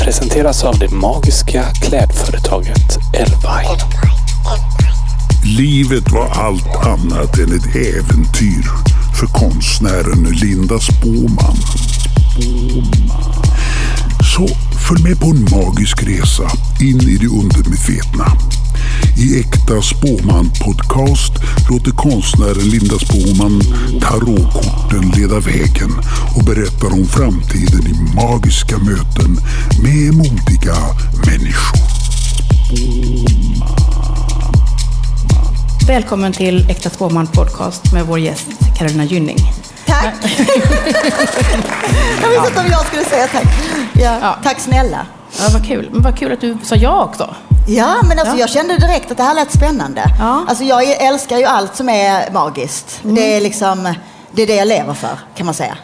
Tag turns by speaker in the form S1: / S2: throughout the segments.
S1: presenteras av det magiska klädföretaget Elvine.
S2: Livet var allt annat än ett äventyr för konstnären Linda Spåman. Så följ med på en magisk resa in i det undermedvetna. I Äkta Spåman Podcast låter konstnären Linda Spåman tarotkorten leda vägen och berättar om framtiden i magiska möten med modiga människor.
S3: Välkommen till Äkta Spåman Podcast med vår gäst Carolina Gynning.
S4: Tack! jag visste inte om jag skulle säga tack. Ja,
S3: Ja.
S4: Tack snälla.
S3: Ja, vad kul. Men vad kul att du sa ja också.
S4: Ja, men alltså
S3: Ja.
S4: jag kände direkt att det här lät spännande.
S3: Ja. Mm.
S4: Alltså jag älskar ju allt som är magiskt. Det är liksom, det är det jag lever för kan man säga.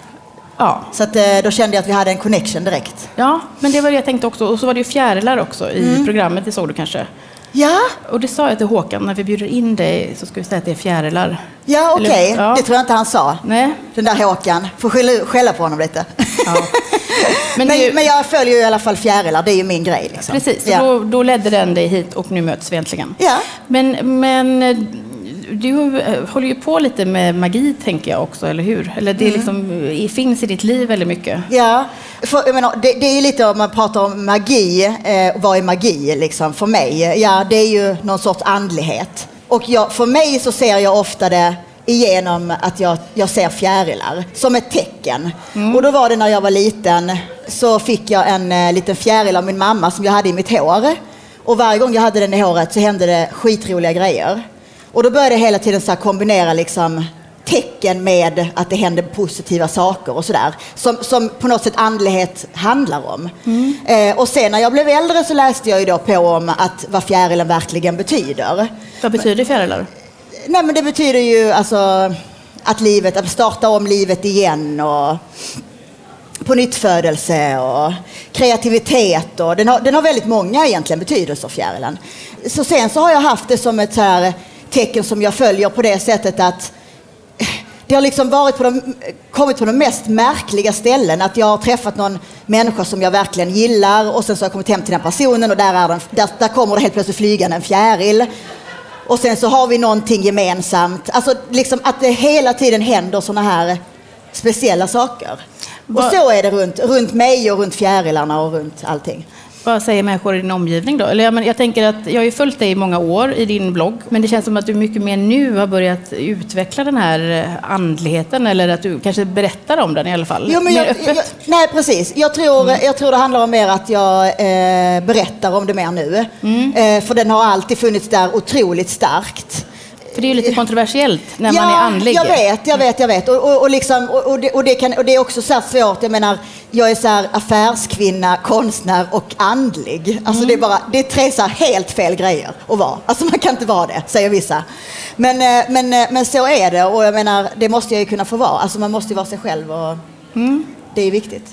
S3: Ja,
S4: Så att, eh, då kände jag att vi hade en connection direkt.
S3: ja men det var det jag tänkte också. Och så var det ju fjärilar också i
S4: Mm.
S3: programmet, det såg du kanske.
S4: Ja,
S3: Och det sa jag till Håkan, när vi bjuder in dig så ska vi säga att det är fjärilar.
S4: ja okej.
S3: Eller- ja.
S4: Det tror jag inte han sa.
S3: Nej.
S4: Den där Håkan. Får skälla, skälla på honom lite.
S3: Ja. Men
S4: Men,
S3: det är ju-
S4: men jag följer ju i alla fall fjärilar. Det är ju min grej. Liksom.
S3: Precis, så
S4: Ja.
S3: då, då ledde den dig hit och nu möts vi äntligen.
S4: Ja.
S3: Men, men eh, du eh, håller ju på lite med magi, tänker jag också, eller hur? Eller det
S4: Mm.
S3: liksom, eh, finns i ditt liv väldigt mycket.
S4: Ja, för, jag menar, det, det är ju lite om man pratar om magi. Eh, vad är magi liksom för mig? Ja, det är ju någon sorts andlighet. Och jag, för mig så ser jag ofta det igenom att jag, jag ser fjärilar som ett tecken. Och då var det när jag var liten så fick jag en eh, liten fjäril av min mamma som jag hade i mitt hår. Och varje gång jag hade den i håret så hände det skitroliga grejer. Och då började jag hela tiden så här kombinera liksom tecken med att det händer positiva saker och sådär. Som, som på något sätt andlighet handlar om. Eh, och sen när jag blev äldre så läste jag ju då på om att vad fjärilen verkligen betyder.
S3: Vad betyder fjärilar?
S4: Nej men det betyder ju alltså att livet, att starta om livet igen och på nytt födelse och kreativitet och den har, den har väldigt många egentligen betydelser fjärilen. Så sen så har jag haft det som ett så här tecken som jag följer på det sättet att det har liksom varit på de, kommit på de mest märkliga ställen. Att jag har träffat någon människa som jag verkligen gillar och sen så har jag kommit hem till den personen och där, är den, där, där kommer det helt plötsligt flygande en fjäril. Och sen så har vi någonting gemensamt. Alltså liksom att det hela tiden händer sådana här speciella saker. Och
S3: Va-
S4: så är det runt, runt mig och runt fjärilarna och runt allting.
S3: Vad säger människor i din omgivning då? Eller, jag, men, jag, tänker att jag har ju följt dig i många år i din blogg, men det känns som att du mycket mer nu har börjat utveckla den här eh, andligheten, eller att du kanske berättar om den i alla fall.
S4: Jo, men
S3: mer
S4: jag,
S3: öppet. Mm.
S4: jag, nej, precis. Jag tror, jag tror det handlar om mer att jag eh, berättar om det mer nu.
S3: Mm.
S4: Eh, för den har alltid funnits där otroligt starkt.
S3: För det är ju lite kontroversiellt när man är andlig.
S4: Jag vet, jag vet, jag vet. Och, och, och, liksom, och, och, det, och, det, kan, och det är också så här svårt. Jag menar, jag är så här affärskvinna, konstnär och andlig. Alltså det, är
S3: Mm.
S4: bara, det är tre så här helt fel grejer att vara. Alltså man kan inte vara det, säger vissa. Men, eh, men, eh, men så är det. Och jag menar, det måste jag ju kunna få vara. Alltså man måste ju vara sig själv. Och
S3: Mm.
S4: Det är viktigt.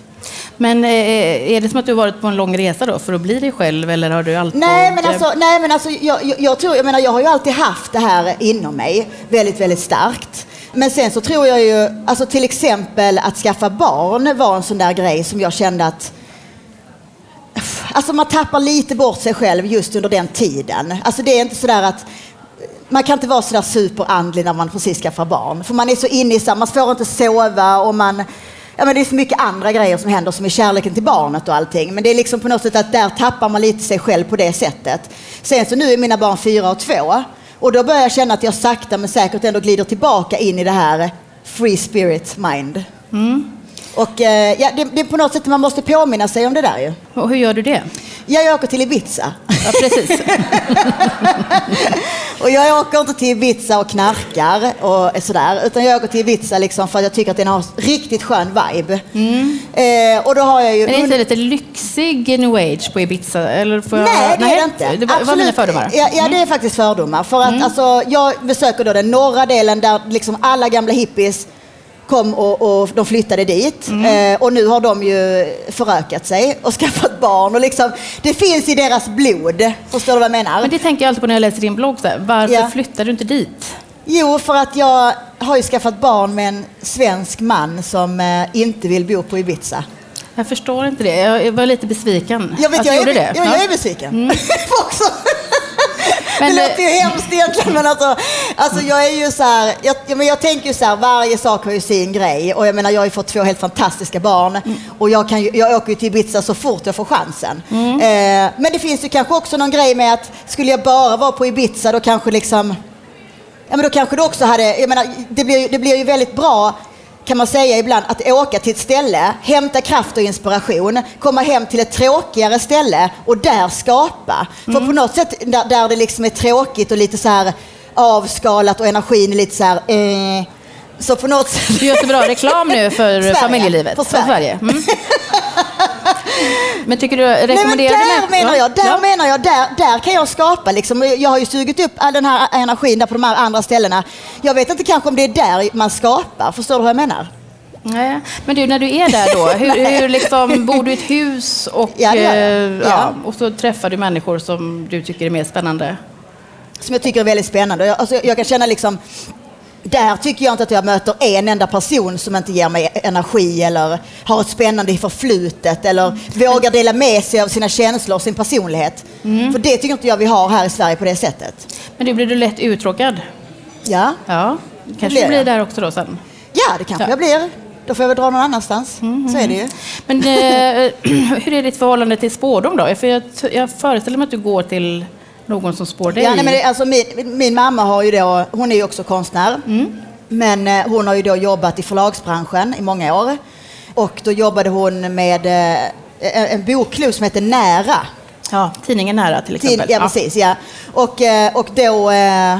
S3: Men eh, är det som att du har varit på en lång resa då för att bli dig själv eller har du alltid...
S4: Nej men alltså, nej, men alltså jag, jag, jag, tror, jag, menar, jag har ju alltid haft det här inom mig väldigt, väldigt starkt. Men sen så tror jag ju, alltså till exempel att skaffa barn var en sån där grej som jag kände att Alltså man tappar lite bort sig själv just under den tiden. Alltså det är inte sådär att man kan inte vara sådär superandlig när man precis skaffar barn. För man är så inne i samma, man får inte sova och man... Ja men det är så mycket andra grejer som händer som är kärleken till barnet och allting. Men det är liksom på något sätt att där tappar man lite sig själv på det sättet. Sen så nu är mina barn fyra och två. Och då börjar jag känna att jag sakta men säkert ändå glider tillbaka in i det här free spirit mind. Och eh, ja, det, det är på något sätt man måste påminna sig om det där ju.
S3: Och hur gör du det?
S4: Ja, jag åker till Ibiza.
S3: Ja, precis.
S4: Och jag åker inte till Ibiza och knarkar och sådär, utan jag åker till Ibiza liksom för att jag tycker att den har riktigt skön vibe. Eh, och då har jag ju...
S3: Mm. Men är det inte lite lyxig new age på Ibiza? Eller får jag...
S4: Nej, det är det
S3: Nej,
S4: inte.
S3: Det var, var
S4: Absolut.
S3: mina fördomar. Mm.
S4: Ja, ja, det är faktiskt fördomar. För att alltså, jag besöker då den norra delen där liksom alla gamla hippies kom och, och de flyttade dit.
S3: Mm.
S4: Eh, och nu har de ju förökat sig och skaffat barn. Och liksom, det finns i deras blod. Förstår du vad jag menar?
S3: Men det tänker jag alltid på när jag läser din blogg. Så här. Varför
S4: Alltså- Ja.
S3: flyttar du inte dit?
S4: Jo, för att jag har ju skaffat barn med en svensk man som eh, inte vill bo på Ibiza.
S3: Jag förstår inte det. Jag jag var lite besviken.
S4: Jag, vet,
S3: att
S4: jag,
S3: gjorde
S4: är,
S3: det.
S4: Jag,
S3: Ja. Mm.
S4: jag är besviken. Också.
S3: Men,
S4: det låter ju hemskt egentligen, men alltså, alltså jag är ju så här, jag, ja, men jag tänker ju så här, varje sak har ju sin grej. Och jag menar, jag har ju fått två helt fantastiska barn och jag, kan ju, jag åker ju till Ibiza så fort jag får chansen. Eh, men det finns ju kanske också någon grej med att skulle jag bara vara på Ibiza, då kanske liksom, ja men då kanske du också hade, jag menar, det blir, ju- det blir ju väldigt bra kan man säga ibland, att åka till ett ställe, hämta kraft och inspiration, komma hem till ett tråkigare ställe och där skapa. För
S3: Mm.
S4: på något sätt där, där det liksom är tråkigt och lite så här avskalat och energin är lite så här, eh, så på något sätt
S3: eh, Du gör så bra reklam nu för
S4: Sverige.
S3: familjelivet.
S4: För Sverige.
S3: Mm. Men tycker du,
S4: Nej, men
S3: rekommenderar
S4: där
S3: du mig-
S4: menar
S3: Ja,
S4: jag, där
S3: ja.
S4: menar jag, där, där kan jag skapa liksom. Jag har ju sugit upp all den här energin där på de här andra ställena. Jag vet inte kanske om det är där man skapar, förstår du vad jag menar?
S3: Nej. Men du, när du är där då, hur, hur liksom, bor du i ett hus och,
S4: Ja, det gör jag.
S3: eh,
S4: Ja.
S3: och så träffar du människor som du tycker är mer spännande?
S4: Som jag tycker är väldigt spännande. Jag, alltså, jag kan känna liksom, där tycker jag inte att jag möter en enda person som inte ger mig energi eller har ett spännande i förflutet eller vågar dela med sig av sina känslor och sin personlighet. För det tycker inte jag vi har här i Sverige på det sättet.
S3: Men du, blir du lätt uttråkad?
S4: Ja,
S3: Ja, kanske
S4: blir
S3: du blir
S4: jag.
S3: där också då sen.
S4: ja det kanske
S3: Ja.
S4: jag blir. Då får jag väl dra någon annanstans. Så är det ju.
S3: Men eh, hur är ditt förhållande till spårdom då? För jag, jag föreställer mig att du går till någon som spår dig.
S4: Ja, nej, men det, alltså min, min mamma har ju då, hon är ju också konstnär, men eh, hon har ju då jobbat i förlagsbranschen i många år. Och då jobbade hon med eh, en, en bokklubb som heter Nära.
S3: ja, tidningen Nära till
S4: Till,
S3: exempel.
S4: ja, precis. Ja. Och, eh, och då, eh,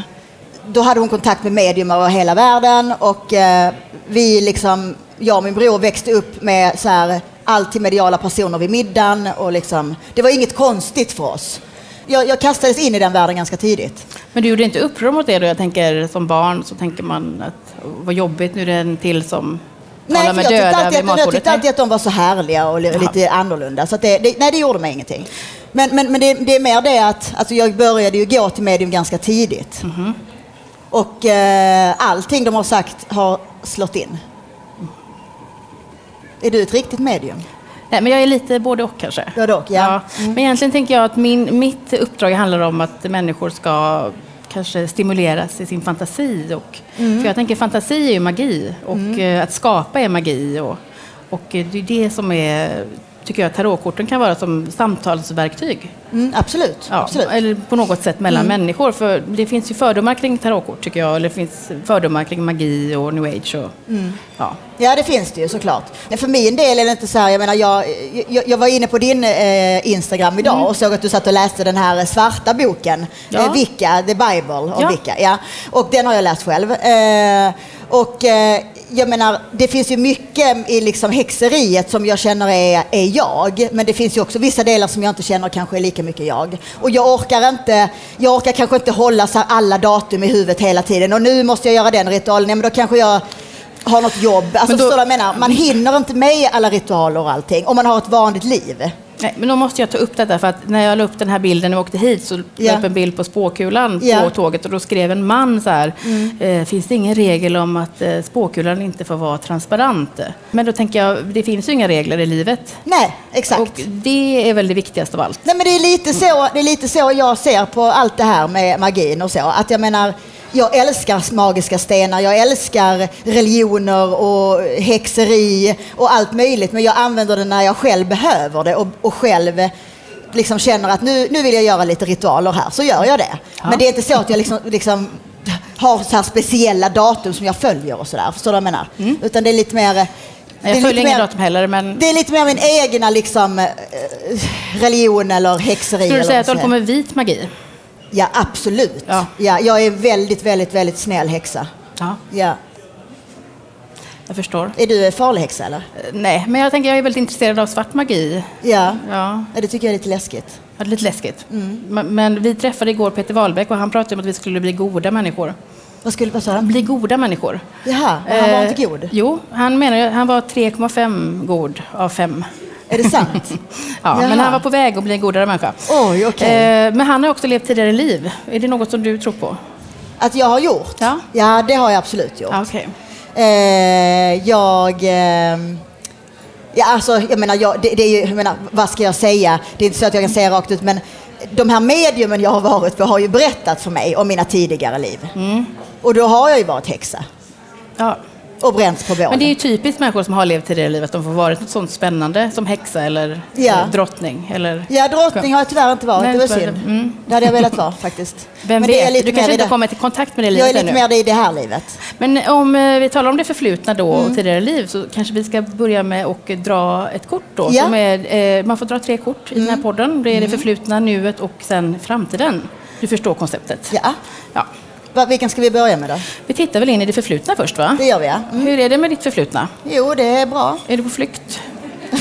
S4: då hade hon kontakt med medium över hela världen och eh, vi liksom, jag och min bror växte upp med så här, alltid mediala personer vid middagen och liksom, det var inget konstigt för oss. Jag, jag kastades in i den världen ganska tidigt.
S3: Men du gjorde inte uppror mot det då? Jag tänker som barn så tänker man att vad jobbigt, nu är det en till som talar
S4: Nej, för
S3: med
S4: jag tyckte,
S3: döda vid
S4: alltid att, jag
S3: matbordet.
S4: tyckte alltid att de var så härliga och li,
S3: Jaha.
S4: lite annorlunda. Så att det, det, nej, det gjorde mig ingenting. Men, men, men det, det är mer det att alltså jag började ju gå till medium ganska tidigt.
S3: Mhm.
S4: Och eh, allting de har sagt har slått in. Är du ett riktigt medium?
S3: Nej, men jag är lite både och kanske.
S4: Både och, ja. Mm.
S3: Men egentligen tänker jag att min, mitt uppdrag handlar om att människor ska kanske stimuleras i sin fantasi. Och,
S4: Mm.
S3: För jag tänker fantasi är ju magi och eh, att skapa är magi. Och, och eh, det är det som är, tycker jag, tarotkorten kan vara som samtalsverktyg.
S4: Mm, absolut.
S3: Ja,
S4: absolut. Mm.
S3: Eller på något sätt mellan människor. För det finns ju fördomar kring tarotkort tycker jag. Eller det finns fördomar kring magi och new age. Och,
S4: Mm.
S3: ja.
S4: Ja, det finns det ju såklart. Men för min del är det inte så här, jag menar, jag, jag, jag var inne på din eh, Instagram idag och såg att du satt och läste den här svarta boken,
S3: Mm. Ja.
S4: eh, Vicka, The Bible om
S3: Ja.
S4: Vicka. Ja. Och den har jag läst själv. Eh, och eh, jag menar, det finns ju mycket i liksom häxeriet som jag känner är, är jag, men det finns ju också vissa delar som jag inte känner kanske är lika mycket jag. Och jag orkar inte, jag orkar kanske inte hålla så här alla datum i huvudet hela tiden och nu måste jag göra den ritualen, ja, men då kanske jag har något jobb. Alltså,
S3: Men då-
S4: förstår du vad jag menar? Man hinner inte med alla ritualer och allting om man har ett vanligt liv.
S3: Nej, men då måste jag ta upp detta för att när jag la upp den här bilden när vi åkte hit så la
S4: Ja.
S3: jag upp en bild på spåkulan
S4: Ja. Mm.
S3: på tåget och då skrev en man så här. Eh, finns det ingen regel om att eh, spåkulan inte får vara transparent? Men då tänker jag, det finns ju inga regler i livet.
S4: Nej, exakt.
S3: Och det är väl det viktigaste av allt.
S4: Nej, men det, är lite så, det är lite så jag ser på allt det här med magin och så. Att jag menar, jag älskar magiska stenar, jag älskar religioner och häxeri och allt möjligt. Men jag använder det när jag själv behöver det och, och själv liksom känner att nu, nu vill jag göra lite ritualer här, så gör jag det. Men det är inte så att jag liksom, liksom har så här speciella datum som jag följer och sådär. Förstår du vad jag menar? Utan det är lite mer... det är
S3: Mm. Jag följer
S4: lite
S3: inga
S4: mer-
S3: datum heller men
S4: det är lite mer min egna liksom, eh, religion eller häxeri.
S3: skulle du
S4: eller
S3: säga
S4: vad
S3: att du
S4: som
S3: håller på med vit magi?
S4: är. Ja, absolut. Ja.
S3: Ja.
S4: jag är väldigt, väldigt, väldigt snäll häxa.
S3: Ja,
S4: Ja.
S3: jag förstår.
S4: Är du en farlig häxa eller?
S3: Eh, Nej, men jag tänker jag är väldigt intresserad av svart magi.
S4: Ja.
S3: Ja,
S4: ja. Det tycker jag är lite läskigt.
S3: Ja, det är lite läskigt.
S4: Mm.
S3: Men, men vi träffade igår Peter Wahlbeck och han pratade om att vi skulle bli goda människor.
S4: Vad skulle vad sa han?
S3: Bli goda människor.
S4: Jaha, men han var
S3: Eh,
S4: inte god.
S3: Jo, han menar ju- han var 3,5 god av 5.
S4: Är det sant?
S3: Ja, men
S4: Jaha.
S3: han var på väg att bli en godare människa.
S4: Oj, okej.
S3: Eh, Men han har också levt tidigare liv. Är det något som du tror på?
S4: Att jag har gjort?
S3: Ja.
S4: ja det har jag absolut gjort.
S3: Ja, okej.
S4: Eh, jag... Eh, Ja, alltså, jag menar, jag, det, det är ju, jag menar, vad ska jag säga? Det är inte så att jag kan säga rakt ut, men de här mediumen jag har varit på har ju berättat för mig om mina tidigare liv.
S3: Mm.
S4: Och då har jag ju varit häxa
S3: Ja.
S4: och bränts på bål.
S3: Men det är ju typiskt människor som har levt tidigare i livet, att de får vara något sånt spännande som häxa eller
S4: Ja.
S3: eh, drottning. Eller...
S4: Ja, drottning har jag tyvärr inte varit.
S3: Nej,
S4: det var
S3: inte varit.
S4: synd. Det hade jag velat vara faktiskt.
S3: Vem
S4: Men det är
S3: vet,
S4: lite
S3: du
S4: mer
S3: kanske
S4: i
S3: inte
S4: det-
S3: har kommit i kontakt med det
S4: Jag
S3: livet
S4: är lite
S3: ännu.
S4: mer i det här livet.
S3: Men om eh, vi talar om det förflutna då
S4: Mm.
S3: och tidigare liv så kanske vi ska börja med att dra ett kort då.
S4: Ja. Mm.
S3: Som är, eh, man får dra tre kort i den här podden. Det är det förflutna, nuet och sen framtiden. Du förstår konceptet?
S4: Ja.
S3: ja.
S4: Va, vilken ska vi börja med då?
S3: Vi tittar väl in i det förflutna först va?
S4: Det gör vi ja. Mm.
S3: Hur är det med ditt förflutna?
S4: Jo, det är bra.
S3: Är du på flykt?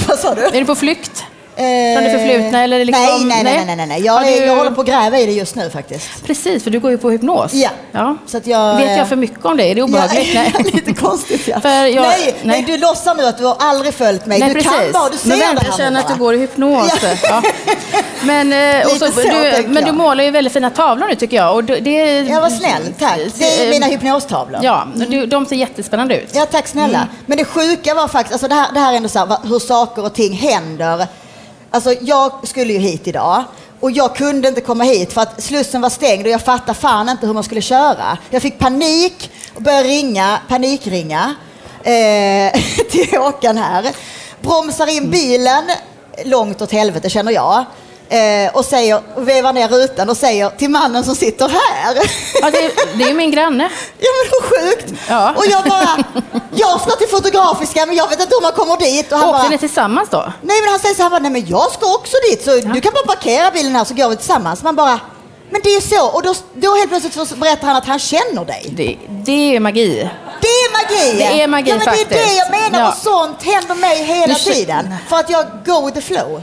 S4: Vad sa du?
S3: Är du på flykt?
S4: Eh,
S3: Från det förflutna, eller liksom-
S4: nej, nej, nej,
S3: nej?
S4: nej, nej, nej. Jag,
S3: Har
S4: är,
S3: du-
S4: jag håller på att gräva i det just nu faktiskt.
S3: Precis, för du går ju på hypnos.
S4: Ja.
S3: ja.
S4: Så att jag, eh,
S3: Vet jag för mycket om det? Är det obehagligt?
S4: Ja,
S3: Nej.
S4: lite konstigt ja.
S3: För jag-
S4: nej, nej.
S3: nej.
S4: du låtsas nu att du har aldrig följt mig. du kan bara, du ser
S3: men
S4: det här
S3: vänta,
S4: nu
S3: jag känner att
S4: bara.
S3: du går i hypnos.
S4: Ja.
S3: Ja. Men, eh, och
S4: Lite
S3: så,
S4: så
S3: du,
S4: tänker
S3: men du
S4: jag.
S3: målar ju väldigt fina tavlor nu tycker jag. Och du- det, Eh,
S4: Ja, vad snäll. Tack. Det är mina hypnostavlor.
S3: Ja, du, de ser jättespännande ut.
S4: Ja, tack snälla. Men det sjuka var faktiskt, alltså det, här, det här är ändå så här, va- hur saker och ting händer. Alltså jag skulle ju hit idag och jag kunde inte komma hit för att slussen var stängd och jag fattade fan inte hur man skulle köra. Jag fick panik och började ringa, panikringa eh, till Håkan här. Bromsar in bilen långt åt helvete känner jag. Eh, och säger, och vevar ner rutan och säger till mannen som sitter här.
S3: Ja, det, det är ju min granne.
S4: Ja men hur sjukt!
S3: Ja.
S4: Och jag bara, jag ska till Fotografiska men jag vet inte hur man kommer dit. Och han
S3: Åkte
S4: bara,
S3: ni tillsammans då?
S4: nej men han säger så här, han bara, nej men jag ska också dit så du kan bara parkera bilen här så går vi tillsammans. Man bara, men det är ju så. Och då, då helt plötsligt så berättar han att han känner dig.
S3: Det, det är magi.
S4: Det är magi!
S3: Det är magi
S4: ja, men Det är det
S3: faktiskt.
S4: jag menar
S3: Ja.
S4: och sånt händer mig hela
S3: Nu ser-
S4: tiden. För att jag go with the flow.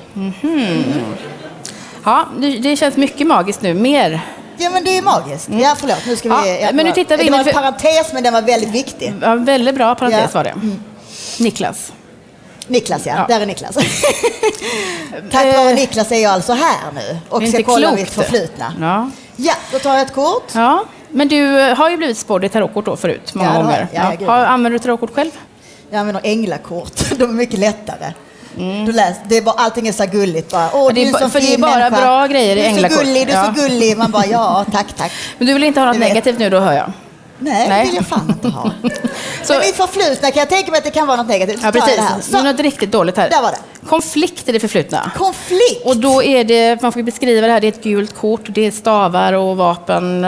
S3: Ja, det, det känns mycket magiskt nu. Mer.
S4: Ja men det är magiskt. Ja förlåt, nu ska
S3: Mm. Ja,
S4: vi...
S3: men nu tittar vi
S4: det
S3: in i
S4: var en
S3: det-
S4: parentes men den var väldigt viktig.
S3: Ja, väldigt bra parentes
S4: Ja. Mm.
S3: var det. Niklas.
S4: Niklas ja,
S3: Ja. Eh.
S4: där är Niklas. Tack vare Niklas är jag alltså här nu och
S3: Det är
S4: ska
S3: inte
S4: kolla
S3: klokt.
S4: mitt förflutna. Ja.
S3: Ja.
S4: då tar jag ett kort.
S3: ja. Men du eh, har ju blivit spådd i tarotkort då förut, många
S4: Ja, det har
S3: gånger.
S4: jag. Ja, gud.
S3: Har, använder du tarotkort själv?
S4: Jag använder änglakort, de är mycket lättare. Du läser, det är bara, allting är så gulligt bara. Åh,
S3: Och Mm. det är
S4: du
S3: ba-
S4: en sån
S3: för det är
S4: fin
S3: bara
S4: människa.
S3: bra grejer i
S4: Du är så
S3: änglakort.
S4: gullig, du är så
S3: Ja.
S4: gullig. Man bara ja, tack, tack.
S3: Men du vill inte ha något
S4: Jag vet.
S3: negativt nu då, hör jag.
S4: Nej,
S3: Nej.
S4: det vill jag fan inte ha.
S3: Så-
S4: Men mitt förflutna kan jag tänka mig att det kan vara något negativt. Så
S3: Ja,
S4: tar jag det här.
S3: precis. Det är något
S4: Så,
S3: riktigt dåligt här.
S4: Där var det.
S3: Konflikt i det förflutna.
S4: konflikt.
S3: Och då är det, man får ju beskriva det här, det är ett gult kort, det är stavar och vapen.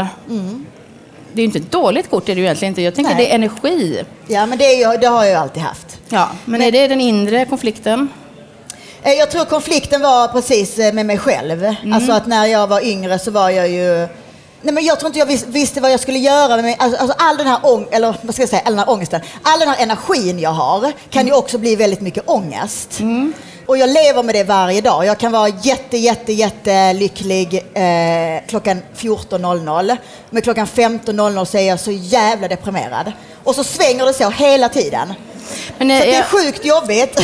S3: Det är ju inte ett dåligt kort, det är det ju egentligen inte. Jag tänker
S4: Mm. Nej.
S3: det är energi.
S4: Ja, men det, är ju, det har jag ju alltid haft.
S3: Ja, men, är det den inre konflikten?
S4: Eh, Jag tror konflikten var precis eh, med mig själv. Alltså att när jag var yngre så var jag ju... Nej, men jag tror inte jag vis- visste vad jag skulle göra. Med mig. Alltså, alltså all den här ång- eller vad ska jag säga, all den här ångesten. All den här energin jag har kan ju också bli väldigt mycket ångest. Och jag lever med det varje dag. Jag kan vara jätte, jätte, jätte lycklig eh, klockan 14.00. Men klockan 15.00 så är jag så jävla deprimerad. Och så svänger det så hela tiden.
S3: Men,
S4: Så
S3: eh,
S4: Alltså, det är
S3: jag-
S4: sjukt jobbigt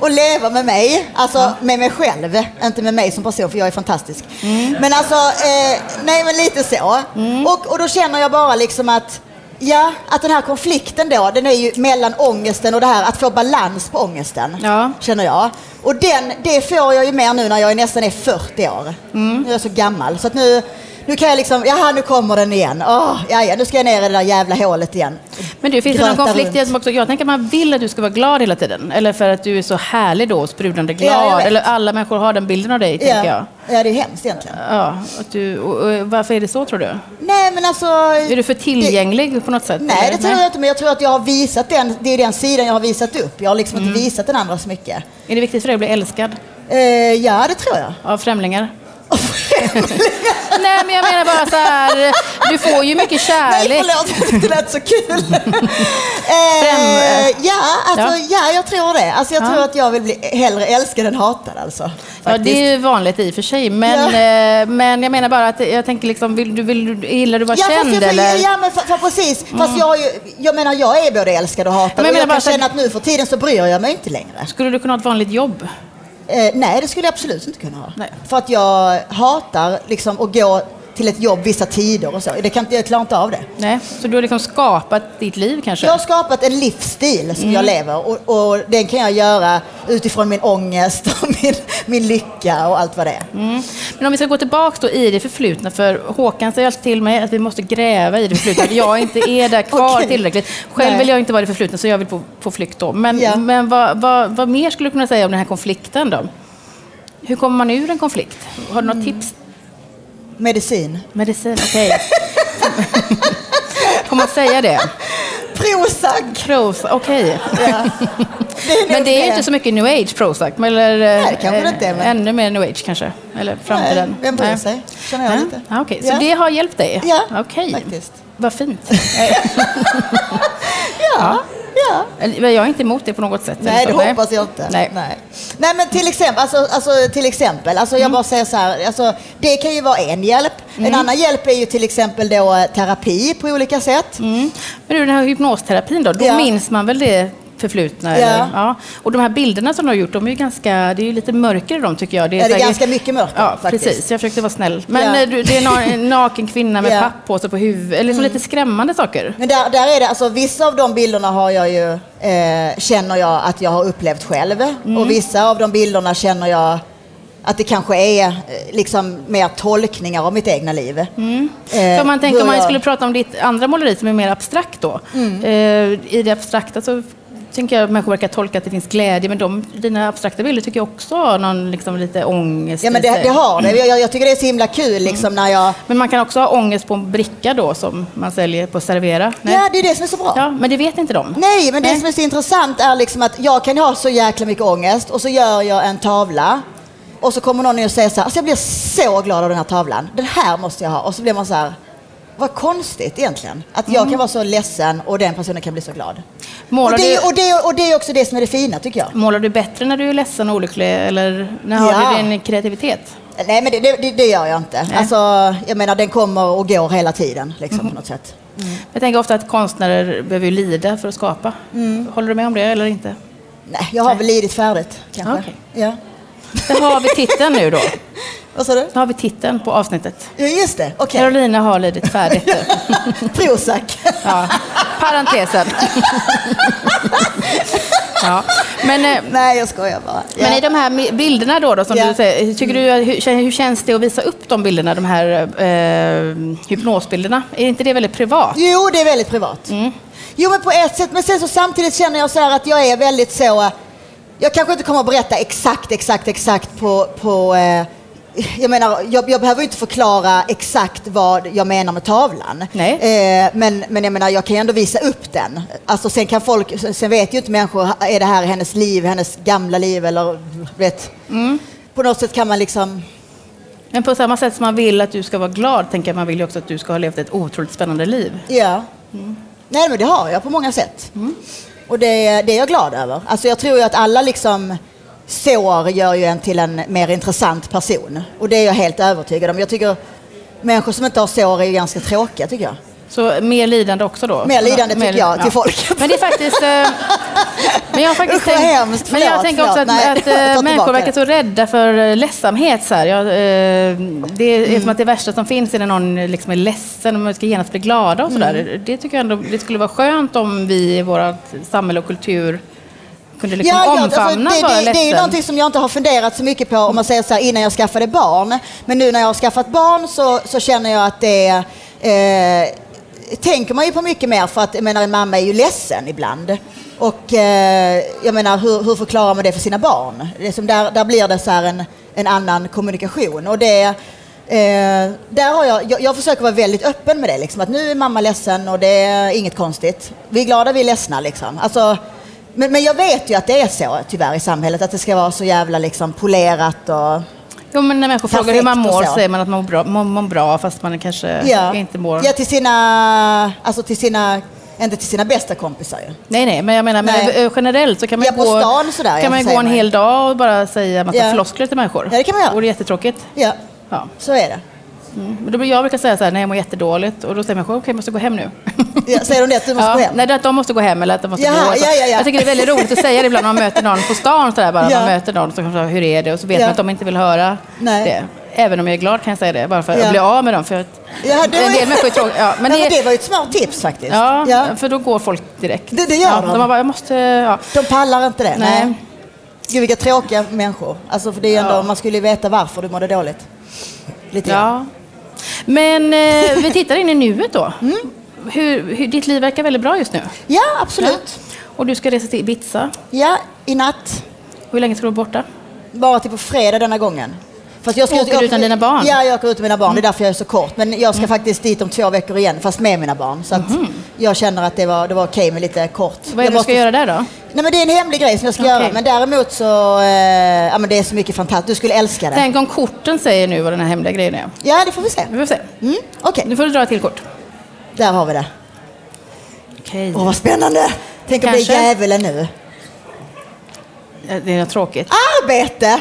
S4: att leva med mig, alltså med mig själv, inte med mig som person för jag är fantastisk.
S3: Mm.
S4: Men alltså, eh, nej men lite så. Och, och då känner jag bara liksom att, ja, att den här konflikten då, den är ju mellan ångesten och det här att få balans på ångesten,
S3: Ja.
S4: känner jag. Och den, det får jag ju mer nu när jag nästan är 40 år.
S3: Mm.
S4: Nu är jag så gammal. Så att nu, nu kan jag liksom, jaha nu kommer den igen. Åh, ja, ja, nu ska jag ner i det där jävla hålet igen.
S3: men du, finns det någon
S4: Gröta
S3: konflikt i
S4: runt.
S3: det som också, jag tänker att man vill att du ska vara glad hela tiden. Eller för att du är så härlig då, och sprudlande
S4: Ja, jag
S3: glad.
S4: vet.
S3: Eller alla människor har den bilden av dig,
S4: Ja,
S3: tänker jag.
S4: ja, det är hemskt egentligen.
S3: Ja, att du, och, och, varför är det så tror du?
S4: Nej, men alltså...
S3: Är du för tillgänglig på något sätt?
S4: Nej,
S3: eller?
S4: det tror jag inte, men jag tror att jag har visat den, det är den sidan jag har visat upp. Jag har liksom
S3: Mm.
S4: inte visat den andra så mycket.
S3: Är det viktigt för dig att bli älskad
S4: Eh, ja, det tror jag.
S3: av främlingar? Nej, men jag menar bara så här, du får ju mycket
S4: Nej,
S3: kärlek.
S4: förlåt, det lät så kul. eh, ja, alltså, ja.
S3: Ja.
S4: jag tror det. Alltså, jag tror att jag vill bli hellre älskad än hatad alltså.
S3: Ja,
S4: Faktiskt.
S3: det är ju vanligt i och för sig, men, eh, men jag menar bara att jag tänker liksom, vill du, vill du, gillar du att vara
S4: Ja, fast,
S3: känd
S4: jag,
S3: eller? Mm.
S4: ja men för, för precis. Fast jag, har ju, jag menar, jag är både älskad och hatad.
S3: Men jag
S4: och
S3: menar
S4: jag
S3: bara
S4: kan
S3: så att-
S4: känna att nu för tiden så bryr jag mig inte längre.
S3: Skulle du kunna ha ett vanligt jobb?
S4: Eh, nej, det skulle jag absolut inte kunna ha.
S3: Nej.
S4: För att jag hatar liksom att gå till ett jobb vissa tider och så. Det kan, inte- jag klarar inte av det.
S3: Nej, så du har liksom skapat ditt liv kanske?
S4: Jag har skapat en livsstil som
S3: Mm.
S4: jag lever och, och den kan jag göra utifrån min ångest och min, min lycka och allt vad det är.
S3: Mm. Men om vi ska gå tillbaka då i det förflutna, för Håkan säger alltid till mig att vi måste gräva i det förflutna, att jag inte är där kvar
S4: Okej.
S3: tillräckligt. Själv
S4: Nej.
S3: vill jag inte vara i det förflutna, så jag vill på, på flykt då. Men,
S4: Ja.
S3: men vad, vad, vad mer skulle du kunna säga om den här konflikten då? Hur kommer man ur en konflikt? Har du
S4: Mm.
S3: något tips?
S4: Medicin.
S3: Medicin? Okej. Får man säga det?
S4: Prozac!
S3: Prozac? Okej.
S4: Ja. är nog
S3: Men det är
S4: det.
S3: inte så mycket new age Prozac, men- eller Nej,
S4: det kanske det inte är, men-
S3: ännu mer new age kanske? Eller framtiden?
S4: Nej, vem bryr sig? Känner jag
S3: Ja.
S4: lite.
S3: Ah, okej. Så
S4: Ja.
S3: det har hjälpt dig?
S4: Ja,
S3: Okej.
S4: faktiskt.
S3: Vad fint. Eh,
S4: Ja, ja.
S3: Eller, Jag är inte emot det på något sätt.
S4: Nej, det
S3: Utan,
S4: hoppas jag inte.
S3: Nej.
S4: Nej. Nej, men till exempel, alltså, alltså, till exempel alltså,
S3: Mm.
S4: jag bara säger så här, alltså, det kan ju vara en hjälp. En annan hjälp är ju till exempel då eh, terapi på olika sätt.
S3: Mm. Men du, den här hypnosterapin då, då
S4: Ja.
S3: minns man väl det förflutna?
S4: Ja.
S3: Eller? Ja. Och de här bilderna som du har gjort, de är ju ganska, det är ju lite mörker i dem tycker jag.
S4: Ja, det är
S3: säkert-
S4: ganska mycket mörker,
S3: Ja,
S4: faktiskt.
S3: precis. Jag försökte vara snäll. Men
S4: Ja.
S3: eh, du, det är na- en naken kvinna med
S4: Ja. Mm.
S3: papppåse på huvudet, eller så lite skrämmande saker.
S4: Men där, där är det, alltså vissa av de bilderna har jag ju, eh, känner jag att jag har upplevt själv.
S3: Mm.
S4: Och vissa av de bilderna känner jag att det kanske är eh, liksom mer tolkningar av mitt egna liv. Eh,
S3: Mm. För om man tänker
S4: hur
S3: om man
S4: jag-
S3: skulle prata om ditt andra måleri som är mer abstrakt då.
S4: Mm.
S3: Eh, I det abstrakta så tänker jag att människor verkar tolka att det finns glädje, men de, dina abstrakta bilder tycker jag också har någon liksom, lite ångest
S4: Ja men
S3: i
S4: det,
S3: sig.
S4: det har det. Jag, jag tycker det är så himla kul liksom
S3: Mm.
S4: när jag...
S3: Men man kan också ha ångest på en bricka då som man säljer på Servera. Nej.
S4: Ja, det är det som är så bra.
S3: Ja, men det vet inte de.
S4: Nej, men det
S3: Nej.
S4: som är så intressant är liksom att jag kan ha så jäkla mycket ångest och så gör jag en tavla och så kommer någon och säger så här, alltså jag blir så glad av den här tavlan, den här måste jag ha. Och så blir man så här, vad konstigt egentligen, att jag kan vara så ledsen och den personen kan bli så glad. Och
S3: Mm. Målar,
S4: det,
S3: du,
S4: är- och, det, är- och det är också det som är det fina tycker jag.
S3: målar du bättre när du är ledsen och olycklig eller när
S4: Ja.
S3: har du din kreativitet?
S4: Nej, men det, det, det- det gör jag inte.
S3: Nej. Mm-hmm.
S4: Alltså, jag menar den kommer och går hela tiden liksom, på något sätt.
S3: Jag tänker ofta att konstnärer behöver ju lida för att skapa.
S4: Mm.
S3: Håller du med om det eller inte?
S4: Nej, jag har väl lidit färdigt kanske.
S3: Okej.
S4: Ja.
S3: Där har vi titeln nu då.
S4: Vad sa du?
S3: Då har vi titeln på avsnittet.
S4: Ja, just det. Okej.
S3: Carolina har lidit färdigt.
S4: Prozac.
S3: Ja. Parentesen. Ja. Men, eh,
S4: Nej, jag skojar bara. Ja.
S3: men i de här mi- bilderna då, då som
S4: Ja.
S3: du säger, tycker du, hur, kän- hur känns det att visa upp de bilderna, de här eh, hypnosbilderna? Är inte det väldigt privat?
S4: Jo, det är väldigt privat.
S3: Mm.
S4: Jo, men på ett sätt. Men sen så samtidigt känner jag så här att jag är väldigt så... eh, Jag kanske inte kommer att berätta exakt, exakt, exakt på... på eh, jag menar, jag, jag behöver ju inte förklara exakt vad jag menar med tavlan.
S3: Nej.
S4: Eh, men, men jag menar, jag kan ju ändå visa upp den. Alltså, sen kan folk... sen- Sen vet ju inte människor, är det här hennes liv, hennes gamla liv eller... Vet.
S3: Mm.
S4: På något sätt kan man liksom...
S3: Men på samma sätt som man vill att du ska vara glad, tänker jag, man vill ju också att du ska ha levt ett otroligt spännande liv.
S4: Ja. Nej, men det har jag på många sätt. Och det, det är jag glad över. Alltså jag tror ju att alla liksom sår gör ju en till en mer intressant person. Och det är jag helt övertygad om. Jag tycker människor som inte har sår är ju ganska tråkiga tycker jag.
S3: Så mer lidande också då?
S4: Mer lidande tycker jag till folket.
S3: Men det är faktiskt... eh, Men jag har faktiskt
S4: Usch, vad hemskt.
S3: men jag
S4: Förlåt,
S3: tänker också att,
S4: förlåt. Nej,
S3: att
S4: jag tar
S3: eh,
S4: tillbaka
S3: människor verkar
S4: det.
S3: så rädda för eh, ledsamhet. Så här. Jag, eh, det är
S4: Mm.
S3: som att det värsta som finns är när någon liksom är ledsen och man ska genast bli glada och sådär.
S4: Mm.
S3: Det tycker jag ändå det skulle vara skönt om vi i vårt samhälle och kultur kunde liksom omfamna
S4: alltså, det,
S3: att vara
S4: det, det är ju
S3: ledsen.
S4: någonting som jag inte har funderat så mycket på om man säger så här, innan jag skaffade barn. Men nu när jag har skaffat barn så, så känner jag att det eh, tänker man ju på mycket mer för att jag menar, en mamma är ju ledsen ibland. Och eh, jag menar hur, hur förklarar man det för sina barn? Det är som där, där blir det så här en, en annan kommunikation. Och det, Eh, där har jag, jag, jag försöker vara väldigt öppen med det. Liksom, att nu är mamma ledsen och det är inget konstigt. Vi är glada, vi är ledsna. Liksom. Alltså, men, men jag vet ju att det är så tyvärr i samhället, att det ska vara så jävla liksom, polerat och...
S3: Jo, men när människor frågar hur man
S4: Perfekt och
S3: mår
S4: så.
S3: säger man att man mår bra, man mår bra fast man kanske
S4: Ja,
S3: inte mår...
S4: ja till sina... Alltså till sina... Inte till sina bästa kompisar ju.
S3: Nej, nej, men jag menar men
S4: Nej.
S3: eh, generellt så kan man
S4: Ja,
S3: ju
S4: på
S3: gå,
S4: stan sådär, ja,
S3: kan man ju
S4: säger
S3: gå en
S4: man.
S3: hel dag och bara säga en massa
S4: Ja.
S3: floskler till människor.
S4: Ja, det kan man göra.
S3: Och det är jättetråkigt.
S4: Ja,
S3: Ja.
S4: så är det.
S3: Mm. Men då, brukar- jag brukar säga så här, nej jag mår jättedåligt och då säger människor, okej jag måste gå hem nu.
S4: Ja, säger de det, att du måste
S3: ja,
S4: gå hem?
S3: Nej, det är att de måste gå hem eller att de måste
S4: Jaha,
S3: gå. och så.
S4: ja, ja, ja.
S3: Jag tycker det är väldigt roligt att säga det ibland när man möter någon på stan. Så där, bara,
S4: Ja.
S3: Man möter någon som kanske, hur är det? Och så vet
S4: Ja.
S3: man att de inte vill höra
S4: Nej.
S3: det. Även om jag är glad kan jag säga det, bara för att
S4: Ja.
S3: bli av med dem. För att
S4: Ja, det var-
S3: En del människor är tråkiga. Ja, men
S4: Men det...
S3: det,
S4: var ju ett smart tips faktiskt.
S3: ja,
S4: Ja.
S3: för då går folk direkt.
S4: Det- det gör
S3: ja,
S4: de.
S3: de. har bara, jag måste... Ja.
S4: De pallar inte det. Nej.
S3: Nej.
S4: Gud vilka tråkiga människor. Alltså för det är ändå,
S3: Ja.
S4: man skulle ju veta varför du mådde dåligt. Lite grann.
S3: Ja. Men eh, vi tittar in i nuet då. Hur, hur, ditt liv verkar väldigt bra just nu.
S4: Ja, absolut.
S3: Och du ska resa till Ibiza.
S4: Ja, i natt.
S3: Hur länge ska du vara borta?
S4: Bara till på fredag denna gången. Fast jag
S3: Åker du utan dina barn? Mm.
S4: Ja, jag åker utan mina barn. Det är därför jag är så kort. Men jag ska faktiskt dit om två veckor igen, fast med mina barn. Så att jag känner att det var, det var okej med lite kort.
S3: Mhm. Vad är
S4: jag
S3: det du ska göra där då?
S4: Nej, men det är en hemlig grej som jag ska
S3: Okej.
S4: göra. Men däremot så... Eh, ja, men det är så mycket fantastiskt. Du skulle älska det.
S3: Tänk om korten säger nu vad den här hemliga grejen är.
S4: Ja, det får vi se.
S3: Vi får se.
S4: Mm, okej.
S3: Nu får du dra ett till kort.
S4: Där har vi det.
S3: Okej.
S4: Åh, vad spännande! Tänk om det
S3: Kanske.
S4: är djävulen nu.
S3: Det är något tråkigt.
S4: Arbete!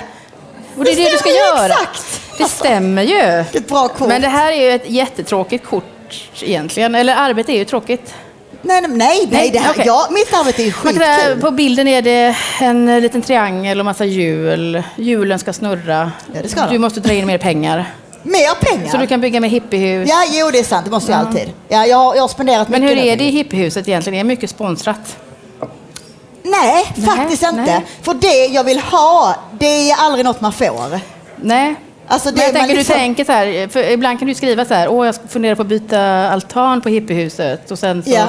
S3: Och det är
S4: Det
S3: det, du ska
S4: stämmer ju
S3: göra.
S4: exakt.
S3: Det stämmer ju.
S4: Vilket bra kort.
S3: Men det här är ju ett jättetråkigt kort egentligen. Eller arbete är ju tråkigt.
S4: Nej, nej, nej. nej
S3: Nej,
S4: det här,
S3: okej.
S4: ja, mitt arbete är ju
S3: Man kan,
S4: skitkul.
S3: på bilden är det en eh, liten triangel och massa hjul. Hjulen ska snurra.
S4: Ja, det ska de.
S3: du måste dra in mer pengar.
S4: Mer pengar.
S3: Så du kan bygga mer hippiehus.
S4: Ja, jo, det är sant. Det måste jag alltid. Ja, jag, har- jag har spenderat
S3: Men hur
S4: mycket nu.
S3: är det i hippiehuset egentligen? Är det mycket sponsrat?
S4: Nej, faktiskt
S3: Nej,
S4: inte.
S3: nej.
S4: För det jag vill ha, det är aldrig något man får.
S3: Nej.
S4: Alltså, det-
S3: men jag
S4: man
S3: tänker,
S4: liksom-
S3: du tänker så här, för ibland kan du skriva så här, åh jag funderar på att byta altan på hippiehuset och sen så
S4: Ja.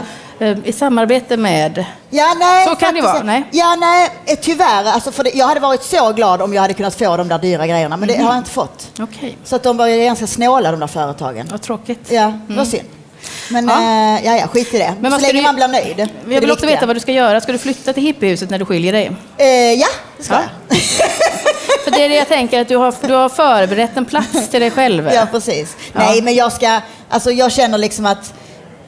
S3: eh, i samarbete med...
S4: Ja, nej,
S3: Så kan det
S4: faktiskt
S3: vara,
S4: inte.
S3: nej.
S4: Ja, nej, eh, tyvärr. Alltså, för det, jag hade varit så glad om jag hade kunnat få de där dyra grejerna, men det
S3: Mhm.
S4: har jag inte fått.
S3: Okej,
S4: Så att de var ju ganska snåla, de där företagen.
S3: vad tråkigt.
S4: Ja, det var synd. Men
S3: Mm. Ja.
S4: ja. ja, ja, skit i det.
S3: Men
S4: så
S3: vad ska
S4: länge
S3: du-
S4: man blir nöjd. det är
S3: Jag vill
S4: det
S3: också
S4: viktiga.
S3: veta vad du ska göra. Ska du flytta till hippiehuset när du skiljer dig?
S4: Eh, ja, det ska
S3: Ja. För det är det jag tänker, att du har, du har förberett en plats till dig själv.
S4: jag. Ja, precis.
S3: Ja.
S4: Nej, men jag ska... Alltså, jag känner liksom att...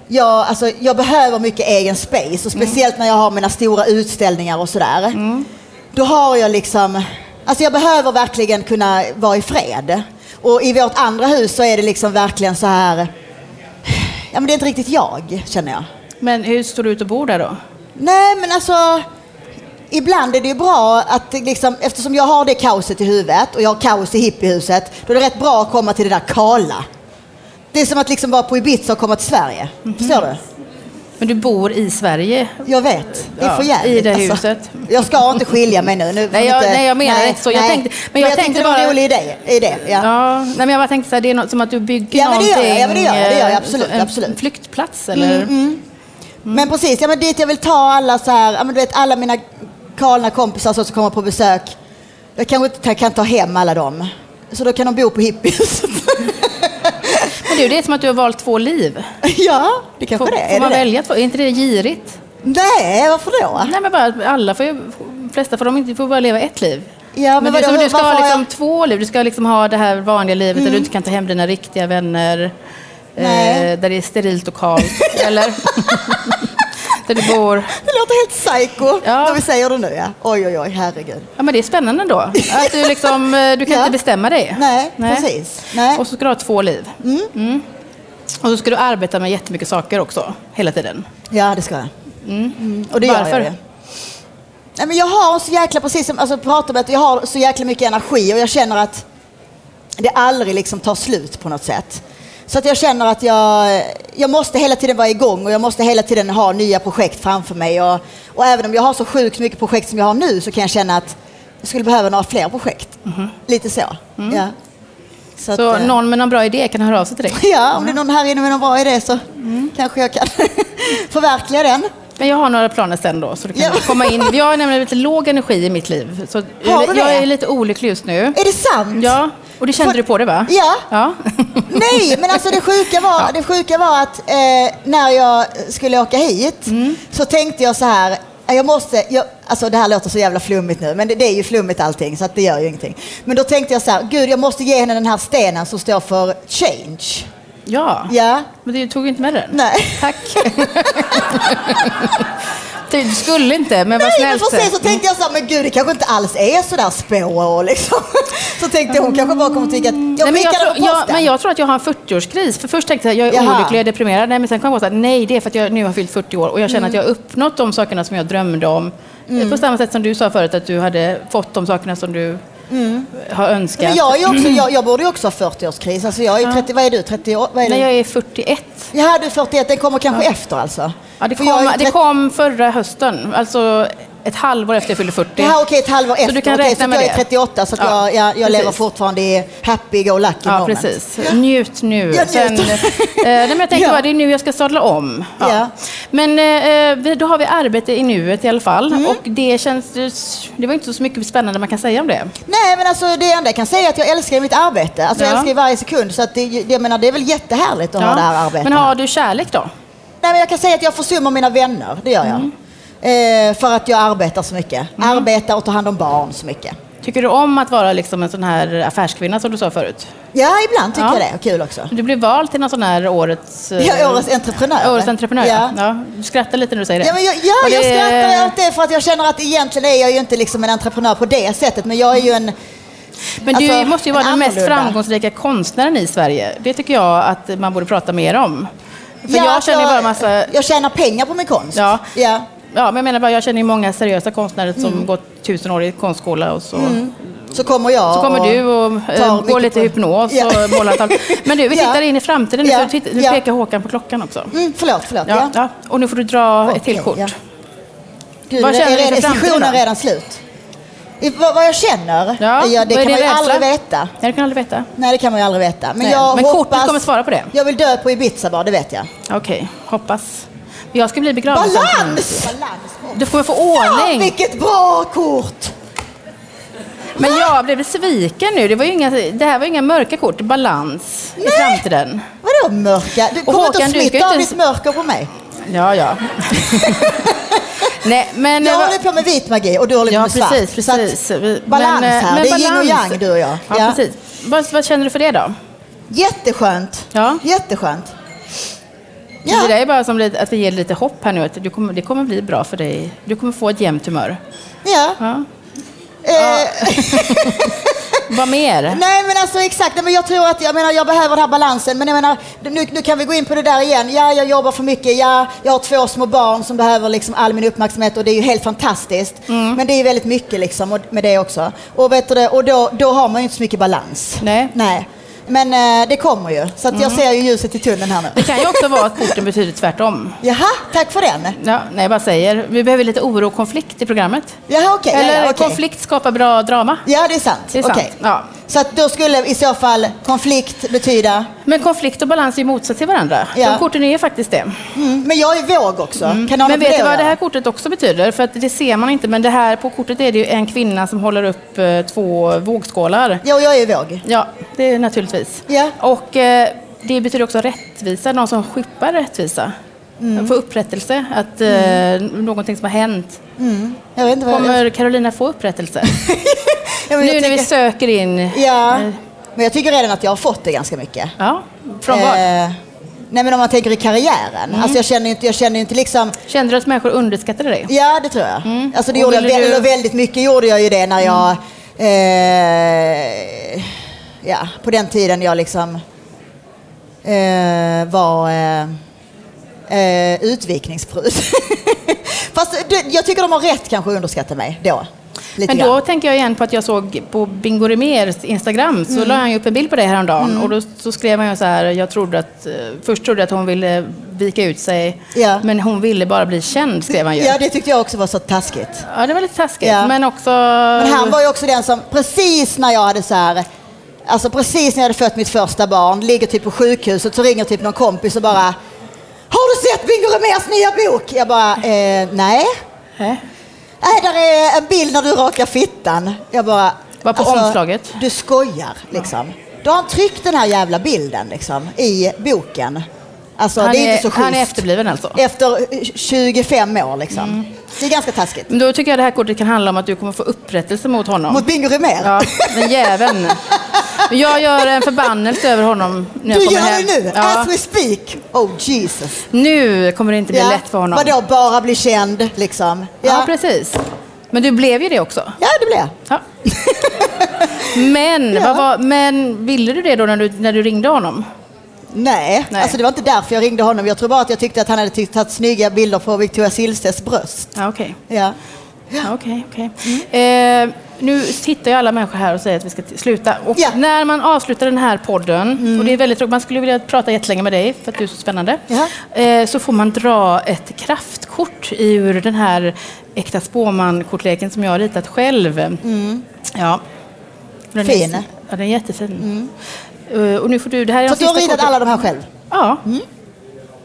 S4: Jag, alltså, jag behöver mycket egen space och
S3: Mm.
S4: speciellt när jag har mina stora utställningar och sådär. Då har jag liksom... Alltså jag behöver verkligen kunna vara i fred. Och i vårt andra hus så är det liksom verkligen så här... Ja men det är inte riktigt jag, känner jag.
S3: Men hur står du ut och bor där då?
S4: Nej, men alltså... Ibland är det ju bra att det liksom, eftersom jag har det kaoset i huvudet och jag har kaos i hippiehuset, då är det rätt bra att komma till det där kala. Det är som att liksom vara på Ibiza och komma till Sverige.
S3: Mhm.
S4: Förstår du?
S3: Men du bor i Sverige?
S4: Jag vet. Det är
S3: Ja,
S4: för jävligt. alltså.
S3: i det huset.
S4: Jag ska inte skilja mig nu. nu får
S3: Nej, jag-
S4: inte,
S3: nej, jag menar inte så. Jag tänkte- men jag tänkte
S4: det var en
S3: bara-
S4: rolig idé. idé ja.
S3: Ja, nej, men jag bara tänkte så här, det är något som att du bygger
S4: Ja, men det gör
S3: någonting.
S4: jag. Ja, men det gör jag. Det gör jag.
S3: eh,
S4: Absolut,
S3: en
S4: absolut. Mm,
S3: flyktplats eller?
S4: Men precis, ja, men dit jag vill ta alla så här, ja, men du vet alla mina galna kompisar som kommer på besök. Jag kanske inte ta- kan ta hem alla dem. Så då kan de bo på hippiehuset.
S3: Men du, det är som att du har valt två liv.
S4: ja, det kanske
S3: Får,
S4: det är.
S3: får man
S4: det det?
S3: välja två? Är inte det girigt?
S4: Nej, varför då?
S3: Nej, men bara alla får ju, de flesta får de inte, får bara leva ett liv.
S4: Ja,
S3: men
S4: men
S3: det är
S4: vadå,
S3: som du ska ha
S4: varför har
S3: liksom
S4: jag- Mm.
S3: två liv. Du ska liksom ha det här vanliga livet där du inte kan ta hem dina riktiga vänner. Eh,
S4: Nej.
S3: där det är sterilt och kallt. eller? där du bor.
S4: Det låter helt psycho
S3: Ja.
S4: när vi säger det nu. Ja. Oj, oj, oj, herregud.
S3: Ja, men det är spännande då. Att du, liksom, eh, du kan
S4: Ja.
S3: inte bestämma dig.
S4: Nej, precis. Nej.
S3: Och så ska du ha två liv. Mm. Och så ska du arbeta med jättemycket saker också, hela tiden.
S4: Ja, det ska jag. Mm. Och det gör
S3: Varför?
S4: jag ju. Nej, men jag har så jäkla, precis som alltså, pratar om att jag har så jäkla mycket energi och jag känner att det aldrig liksom tar slut på något sätt. Så att jag känner att jag, jag måste hela tiden vara igång och jag måste hela tiden ha nya projekt framför mig. Och, och även om jag har så sjukt mycket projekt som jag har nu så kan jag känna att jag skulle behöva några fler projekt. Lite så. Ja. att,
S3: Mhm. Mm. Så
S4: eh,
S3: någon Mm. med någon bra idé kan höra av sig till dig.
S4: Ja, om det är någon här inne med någon bra idé så
S3: Mm.
S4: kanske jag kan förverkliga den.
S3: Men jag har några planer sen då, så du kan
S4: Ja.
S3: komma in. Jag har nämligen lite låg energi i mitt liv. Så
S4: Har du
S3: jag, jag
S4: det?
S3: är lite olycklig just nu.
S4: Är det sant?
S3: Ja, och det kände
S4: Får-
S3: du på det va?
S4: Ja.
S3: ja.
S4: Nej, men alltså det sjuka var, det sjuka var att eh, när jag skulle åka hit
S3: Mm.
S4: så tänkte jag så här, eh, jag måste, jag, alltså det här låter så jävla flummigt nu, men det, det är ju flummigt allting så att det gör ju ingenting. Men då tänkte jag så här, gud jag måste ge henne den här stenen som står för change.
S3: ja.
S4: Ja,
S3: Men du tog ju inte med den.
S4: Nej.
S3: Tack. du skulle inte, men vad
S4: Nej, men
S3: snällt.
S4: precis, så tänkte jag så här, men gud det kanske inte alls är så där spå och liksom. Så tänkte jag, hon kanske bara kommer tycka att jag
S3: Nej, men, jag
S4: skickar den
S3: tror,
S4: på
S3: jag,
S4: posten.
S3: men jag tror att jag har en 40-årskris. För först tänkte jag jag är
S4: Jaha.
S3: olycklig, jag är deprimerad. Nej, men sen kom jag på att nej, det är för att jag nu har fyllt 40 år och jag känner att
S4: Mm.
S3: jag har uppnått de sakerna som jag drömde om. På samma sätt som du sa förut, att du hade fått de sakerna som du har önskat.
S4: Mm. Men jag, är ju också,
S3: Mm.
S4: jag, jag borde ju också ha 40-årskris. Alltså jag är ju 30, vad är du? 30 år? Vad är
S3: Nej,
S4: du?
S3: jag är 41.
S4: Jaha, du är 41. Den kommer kanske efter alltså?
S3: Ja, det,
S4: För jag är
S3: kom,
S4: ju
S3: det
S4: 30
S3: kom förra hösten, alltså ett halvår efter jag fyllde 40.
S4: Det här okej, ett halvår efter.
S3: Så du kan
S4: Okej,
S3: räkna
S4: så
S3: med
S4: jag är
S3: det.
S4: 38 så att
S3: Ja,
S4: jag, jag, jag lever
S3: precis.
S4: fortfarande i happy-go-lucky
S3: Ja,
S4: moment.
S3: precis. Njut nu.
S4: Jag
S3: Sen,
S4: njuter.
S3: eh, nej, men jag tänkte
S4: Ja.
S3: bara, det är nu jag ska sadla om.
S4: Ja.
S3: Men eh, vi- då har vi arbete i nuet i alla fall.
S4: Mm.
S3: Och det känns... ju s- Det var inte så mycket spännande man kan säga om det.
S4: Nej, men alltså det enda jag kan säga är att jag älskar mitt arbete. Alltså jag
S3: Ja.
S4: älskar ju varje sekund. Så att det, jag menar, det är väl jättehärligt att
S3: Ja.
S4: ha det här arbetet.
S3: Men har du kärlek då?
S4: Nej, men jag kan säga att jag försummar mina vänner, det gör jag.
S3: Mm.
S4: Eh, för att jag arbetar så mycket. Arbetar och tar hand om barn så mycket.
S3: Tycker du om att vara liksom en sån här affärskvinna som du sa förut?
S4: Ja, ibland tycker
S3: Ja.
S4: jag det. Och kul också.
S3: Du blev vald till någon sån här årets... eh,
S4: Ja, årets entreprenör.
S3: Årets entreprenör,
S4: Ja.
S3: ja. ja. Du skrattar lite när du säger det.
S4: Ja, men jag, ja,
S3: Och
S4: jag
S3: det-
S4: skrattar åt det för att jag känner att egentligen är jag ju inte liksom en entreprenör på det sättet. Men jag är ju
S3: Mm.
S4: en...
S3: Men du
S4: Alltså,
S3: måste ju vara
S4: en
S3: den mest
S4: annorlunda.
S3: framgångsrika konstnären i Sverige. Det tycker jag att man borde prata mer om. För
S4: Ja,
S3: jag
S4: alltså,
S3: känner ju bara massa...
S4: Jag tjänar pengar på min konst.
S3: Ja.
S4: ja.
S3: Ja, men jag menar bara, jag känner ju många seriösa konstnärer som
S4: Mm.
S3: gått tusen år i konstskola och så.
S4: Så kommer jag
S3: Så kommer
S4: och
S3: du och
S4: tar
S3: eh, går
S4: Mm. mycket
S3: lite
S4: på-
S3: hypnos
S4: Ja.
S3: och målar ett tavla. Men du, vi
S4: Ja.
S3: tittar in i framtiden nu.
S4: Ja.
S3: så titt- Nu
S4: Ja.
S3: pekar Håkan på klockan också.
S4: Mm, förlåt, förlåt.
S3: Ja, ja. Och nu får du dra ett till
S4: Okej,
S3: kort.
S4: ja. Gud,
S3: Vad
S4: är-
S3: känner du
S4: är
S3: för framtiden
S4: sessionen
S3: då?
S4: redan slut? I, vad, vad jag känner?
S3: Ja,
S4: Ja,
S3: vad
S4: det
S3: är
S4: kan man
S3: din
S4: ju
S3: rädsla?
S4: aldrig veta.
S3: Ja, det kan jag aldrig veta.
S4: Nej, det kan man ju aldrig veta. Men,
S3: Nej,
S4: jag
S3: men
S4: hoppas...
S3: kortet kommer svara på det.
S4: Jag vill dö på Ibiza bara, det vet jag.
S3: Okej, hoppas. Jag ska bli begravd.
S4: Balans!
S3: Du kommer få
S4: Ja,
S3: ordning.
S4: vilket bra kort!
S3: Men jag blev besviken nu. Det, var ju inga, det här var ju inga mörka kort. Balans i framtiden.
S4: Vadå mörka? Du kommer inte
S3: Håkan,
S4: att
S3: du ska
S4: smitta av
S3: inte-
S4: ditt mörker på mig.
S3: Ja, ja. Nej, men...
S4: Jag
S3: vad-
S4: håller på med vit magi och du håller på
S3: Ja,
S4: med svart.
S3: precis.
S4: Så att
S3: precis. Vi-
S4: Balans
S3: men, eh,
S4: här.
S3: men
S4: det är yin och
S3: balans.
S4: yang du och jag.
S3: Ja, precis. Vad, vad känner du för det då?
S4: Jätteskönt.
S3: Ja.
S4: Jätteskönt.
S3: Det där
S4: Ja.
S3: är bara som lite- att vi ger lite hopp här nu. Att du kommer, det kommer bli bra för dig. Du kommer få ett jämnt humör.
S4: ja.
S3: Ja.
S4: Eh,
S3: Vad mer?
S4: Nej men alltså exakt, nej, men jag tror att jag, menar, jag behöver den här balansen. Men jag menar, nu, nu kan vi gå in på det där igen. Ja, jag jobbar för mycket. Ja, jag har två små barn som behöver liksom all min uppmärksamhet och det är ju helt fantastiskt.
S3: Mm.
S4: Men det är ju väldigt mycket liksom och, med det också. Och, vet du, det, och då, då har man ju inte så mycket balans.
S3: Nej. Mm.
S4: nej. Men eh, det kommer ju. Så att jag ser ju ljuset i tunneln här nu.
S3: Det kan ju också vara att korten betyder tvärtom.
S4: Jaha, tack för den.
S3: Ja, nej, jag bara säger. Vi behöver lite oro och konflikt i programmet.
S4: Jaha, okej.
S3: Eller
S4: ja, ja, okej.
S3: konflikt skapar bra drama.
S4: Ja, det är sant.
S3: Det är sant,
S4: Okej.
S3: ja.
S4: Så att då skulle i så fall konflikt betyda...
S3: Men konflikt och balans är ju motsatt till varandra.
S4: Ja.
S3: De korten är faktiskt det.
S4: Mm, men jag är våg också. Kan någon
S3: Mm. Men
S4: med
S3: vet du
S4: att
S3: vad det
S4: göra?
S3: här kortet också betyder? För att det ser man inte, men det här på kortet är det ju en kvinna som håller upp eh, två vågskålar.
S4: Jo, jag är våg.
S3: Ja, det är naturligtvis.
S4: Ja.
S3: Och eh, det betyder också rättvisa, någon som skippar rättvisa.
S4: Mm.
S3: Få upprättelse, att eh, någonting som har hänt.
S4: Jag vet inte vad jag...
S3: Kommer Carolina få upprättelse?
S4: Ja, men
S3: nu
S4: jag
S3: när vi
S4: tycker...
S3: söker in...
S4: Ja, men jag tycker redan att jag har fått det ganska mycket.
S3: Ja, från vad? Mm.
S4: Eh, nej, men om man tänker i karriären. Alltså jag känner ju inte, jag känner ju inte liksom...
S3: Kände du att människor underskattade dig?
S4: Ja, det tror jag. Alltså det
S3: Mm. Och
S4: gjorde
S3: ville
S4: jag vä-
S3: du- Mm.
S4: eller väldigt mycket gjorde jag ju det när jag... Eh, ja, på den tiden jag liksom eh, var eh, eh, utvikningsprut. Fast det, jag tycker de har rätt kanske att underskatta mig då. Lite
S3: Men då
S4: grann.
S3: tänker jag igen på att jag såg på Bingo Remers Instagram
S4: Mm.
S3: så la han ju upp en bild på det häromdagen och då så skrev han ju så här, jag trodde att, eh, först trodde jag att hon ville vika ut sig
S4: Ja.
S3: men hon ville bara bli känd skrev han ju.
S4: Ja,
S3: Ja,
S4: det tyckte jag också var så taskigt.
S3: det var lite taskigt
S4: Ja.
S3: men också...
S4: Men han var ju också den som precis när jag hade så här, alltså precis när jag hade fött mitt första barn, ligger typ på sjukhuset så ringer typ någon kompis och bara Har du sett Bingo Remers nya bok? Jag bara, eh, nej.
S3: Eh?
S4: Nej, där är en bild när du rakar fittan. Jag bara... alltså,
S3: Var på omslaget?
S4: Du skojar liksom. Då har han tryckt den här jävla bilden liksom i boken. Alltså
S3: han,
S4: det är, inte så schysst.
S3: han är efterbliven Mm. alltså.
S4: Efter eh, 25 år liksom. Det är ganska taskigt.
S3: Men då tycker jag det här kortet kan handla om att du kommer få upprättelse mot honom.
S4: Mot Bingo Remér.
S3: Ja, den jäveln. Jag gör en förbannelse över honom när jag
S4: Du
S3: kommer
S4: gör
S3: hem.
S4: det nu,
S3: Ja.
S4: as we speak. Oh Jesus.
S3: Nu kommer det inte bli lätt för honom.
S4: Vadå, bara bli känd liksom?
S3: Ja.
S4: Ja,
S3: precis. Men du blev ju det också.
S4: ja det blir jag.
S3: Ja. Men, vad var, men ville du det då när du, när du ringde honom?
S4: Nej.
S3: Nej.
S4: alltså det var inte därför jag ringde honom. Jag tror bara att jag tyckte att han hade tyckt att snygga bilder på Victoria Silvstedts bröst.
S3: Ja, okej.
S4: Ja.
S3: Ja, okej, okej. Eh, Nu sitter ju alla människor här och säger att vi ska t- sluta. Och
S4: Ja. Mm.
S3: När man avslutar den här podden, och det är väldigt tråkigt, man skulle vilja prata jättelänge med dig för att du är så spännande,
S4: Jaha.
S3: eh, så får man dra ett kraftkort ur den här Äkta spåman-kortleken som jag har ritat själv. Ja. Den är-
S4: Mm. Fin.
S3: Ja, den är jättefin. Eh, Och nu får du, det här är
S4: För
S3: de
S4: du har
S3: sista
S4: ritat
S3: korten.
S4: alla de här själv?
S3: Ja,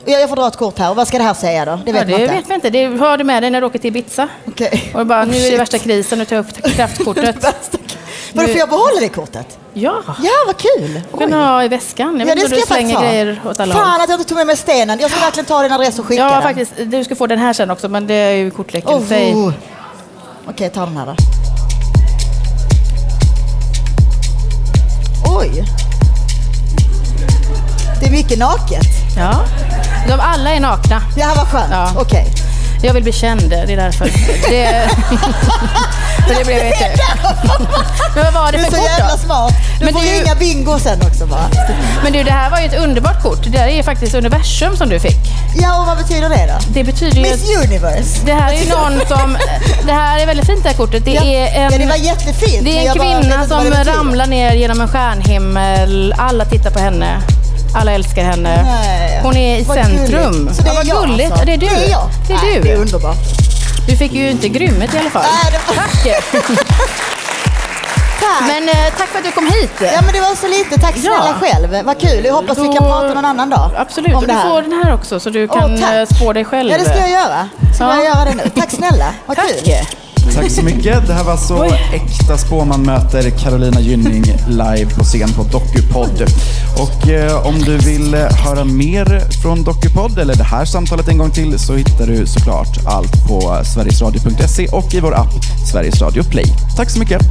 S4: Och Jag, jag får dra ett kort här. Och vad ska det här säga då? Det
S3: ja,
S4: vet
S3: det
S4: man inte.
S3: vet jag inte. Det har du med dig när du åker till Ibiza.
S4: Okej. Oh,
S3: Och bara, nu är det
S4: Shit.
S3: värsta krisen, nu tar jag upp kraftkortet.
S4: Värsta- Vadå,
S3: Nu-
S4: får jag behålla det kortet?
S3: ja,
S4: Ja, vad kul!
S3: du kan
S4: Ah. Oj.
S3: ha i väskan. Jag
S4: Ja,
S3: vet
S4: det
S3: inte
S4: ska
S3: om du
S4: jag faktiskt
S3: slänger
S4: ha.
S3: grejer åt alla håll.
S4: Fan att jag inte tog med mig stenen. Jag ska verkligen ta din adress och skicka
S3: Ja,
S4: den.
S3: faktiskt. Du ska få den här sen också, men det är ju kortleken i
S4: Oh,
S3: sig.
S4: oh. Okej, ta den här då. Oj! Det är mycket naket.
S3: Ja. De alla är nakna.
S4: Ja, vad skönt.
S3: Ja.
S4: Okej.
S3: Jag vill bli känd, det är därför. Det, för det blev jag inte. Men vad var det
S4: Du är
S3: för
S4: så
S3: kort
S4: jävla
S3: då?
S4: smart. Du
S3: Men
S4: får
S3: det är ju-
S4: ringa bingo sen också bara.
S3: Men du, det här var ju ett underbart kort. Det där är ju faktiskt universum som du fick.
S4: Ja, och vad betyder det då?
S3: Det betyder ju... att-
S4: Miss Universe.
S3: Det här är ju någon som... Det här är väldigt fint det här kortet. Det
S4: Ja.
S3: är en...
S4: ja, det var
S3: Det
S4: jättefint. men
S3: är en
S4: jag bara vet
S3: kvinna
S4: inte vad
S3: som
S4: det betyder.
S3: ramlar ner genom en stjärnhimmel. Alla tittar på henne. Alla älskar henne.
S4: Nej.
S3: Hon är i
S4: Vad
S3: centrum.
S4: gulligt. Så det
S3: Ja, vad
S4: är jag
S3: gulligt.
S4: alltså?
S3: Det är du.
S4: Det är jag.
S3: Det är
S4: Nej,
S3: du.
S4: Det är underbart.
S3: Du fick ju inte grymmet i alla fall.
S4: Nej, det var-
S3: Tack!
S4: Tack.
S3: Men eh, tack för att du kom hit.
S4: Ja men det var så lite. Tack snälla
S3: Ja.
S4: själv. Vad kul. Jag hoppas vi
S3: Då-
S4: kan prata någon annan dag.
S3: Absolut.
S4: Om
S3: Och du
S4: det här.
S3: får den här också så du
S4: Åh,
S3: kan
S4: tack.
S3: eh, spå dig själv.
S4: Ja det ska jag göra. Ska
S3: Ja.
S4: jag göra det nu. Tack snälla. Vad
S3: Tack!
S4: kul.
S5: Tack så mycket. Det här var så
S3: Oj.
S5: äkta spåman möter Carolina Gynning live på scen på Docupodd. Och eh, om du vill eh, höra mer från Docupodd eller det här samtalet en gång till så hittar du såklart allt på eh, sverigesradio.se och i vår app Sveriges Radio Play. Tack så mycket.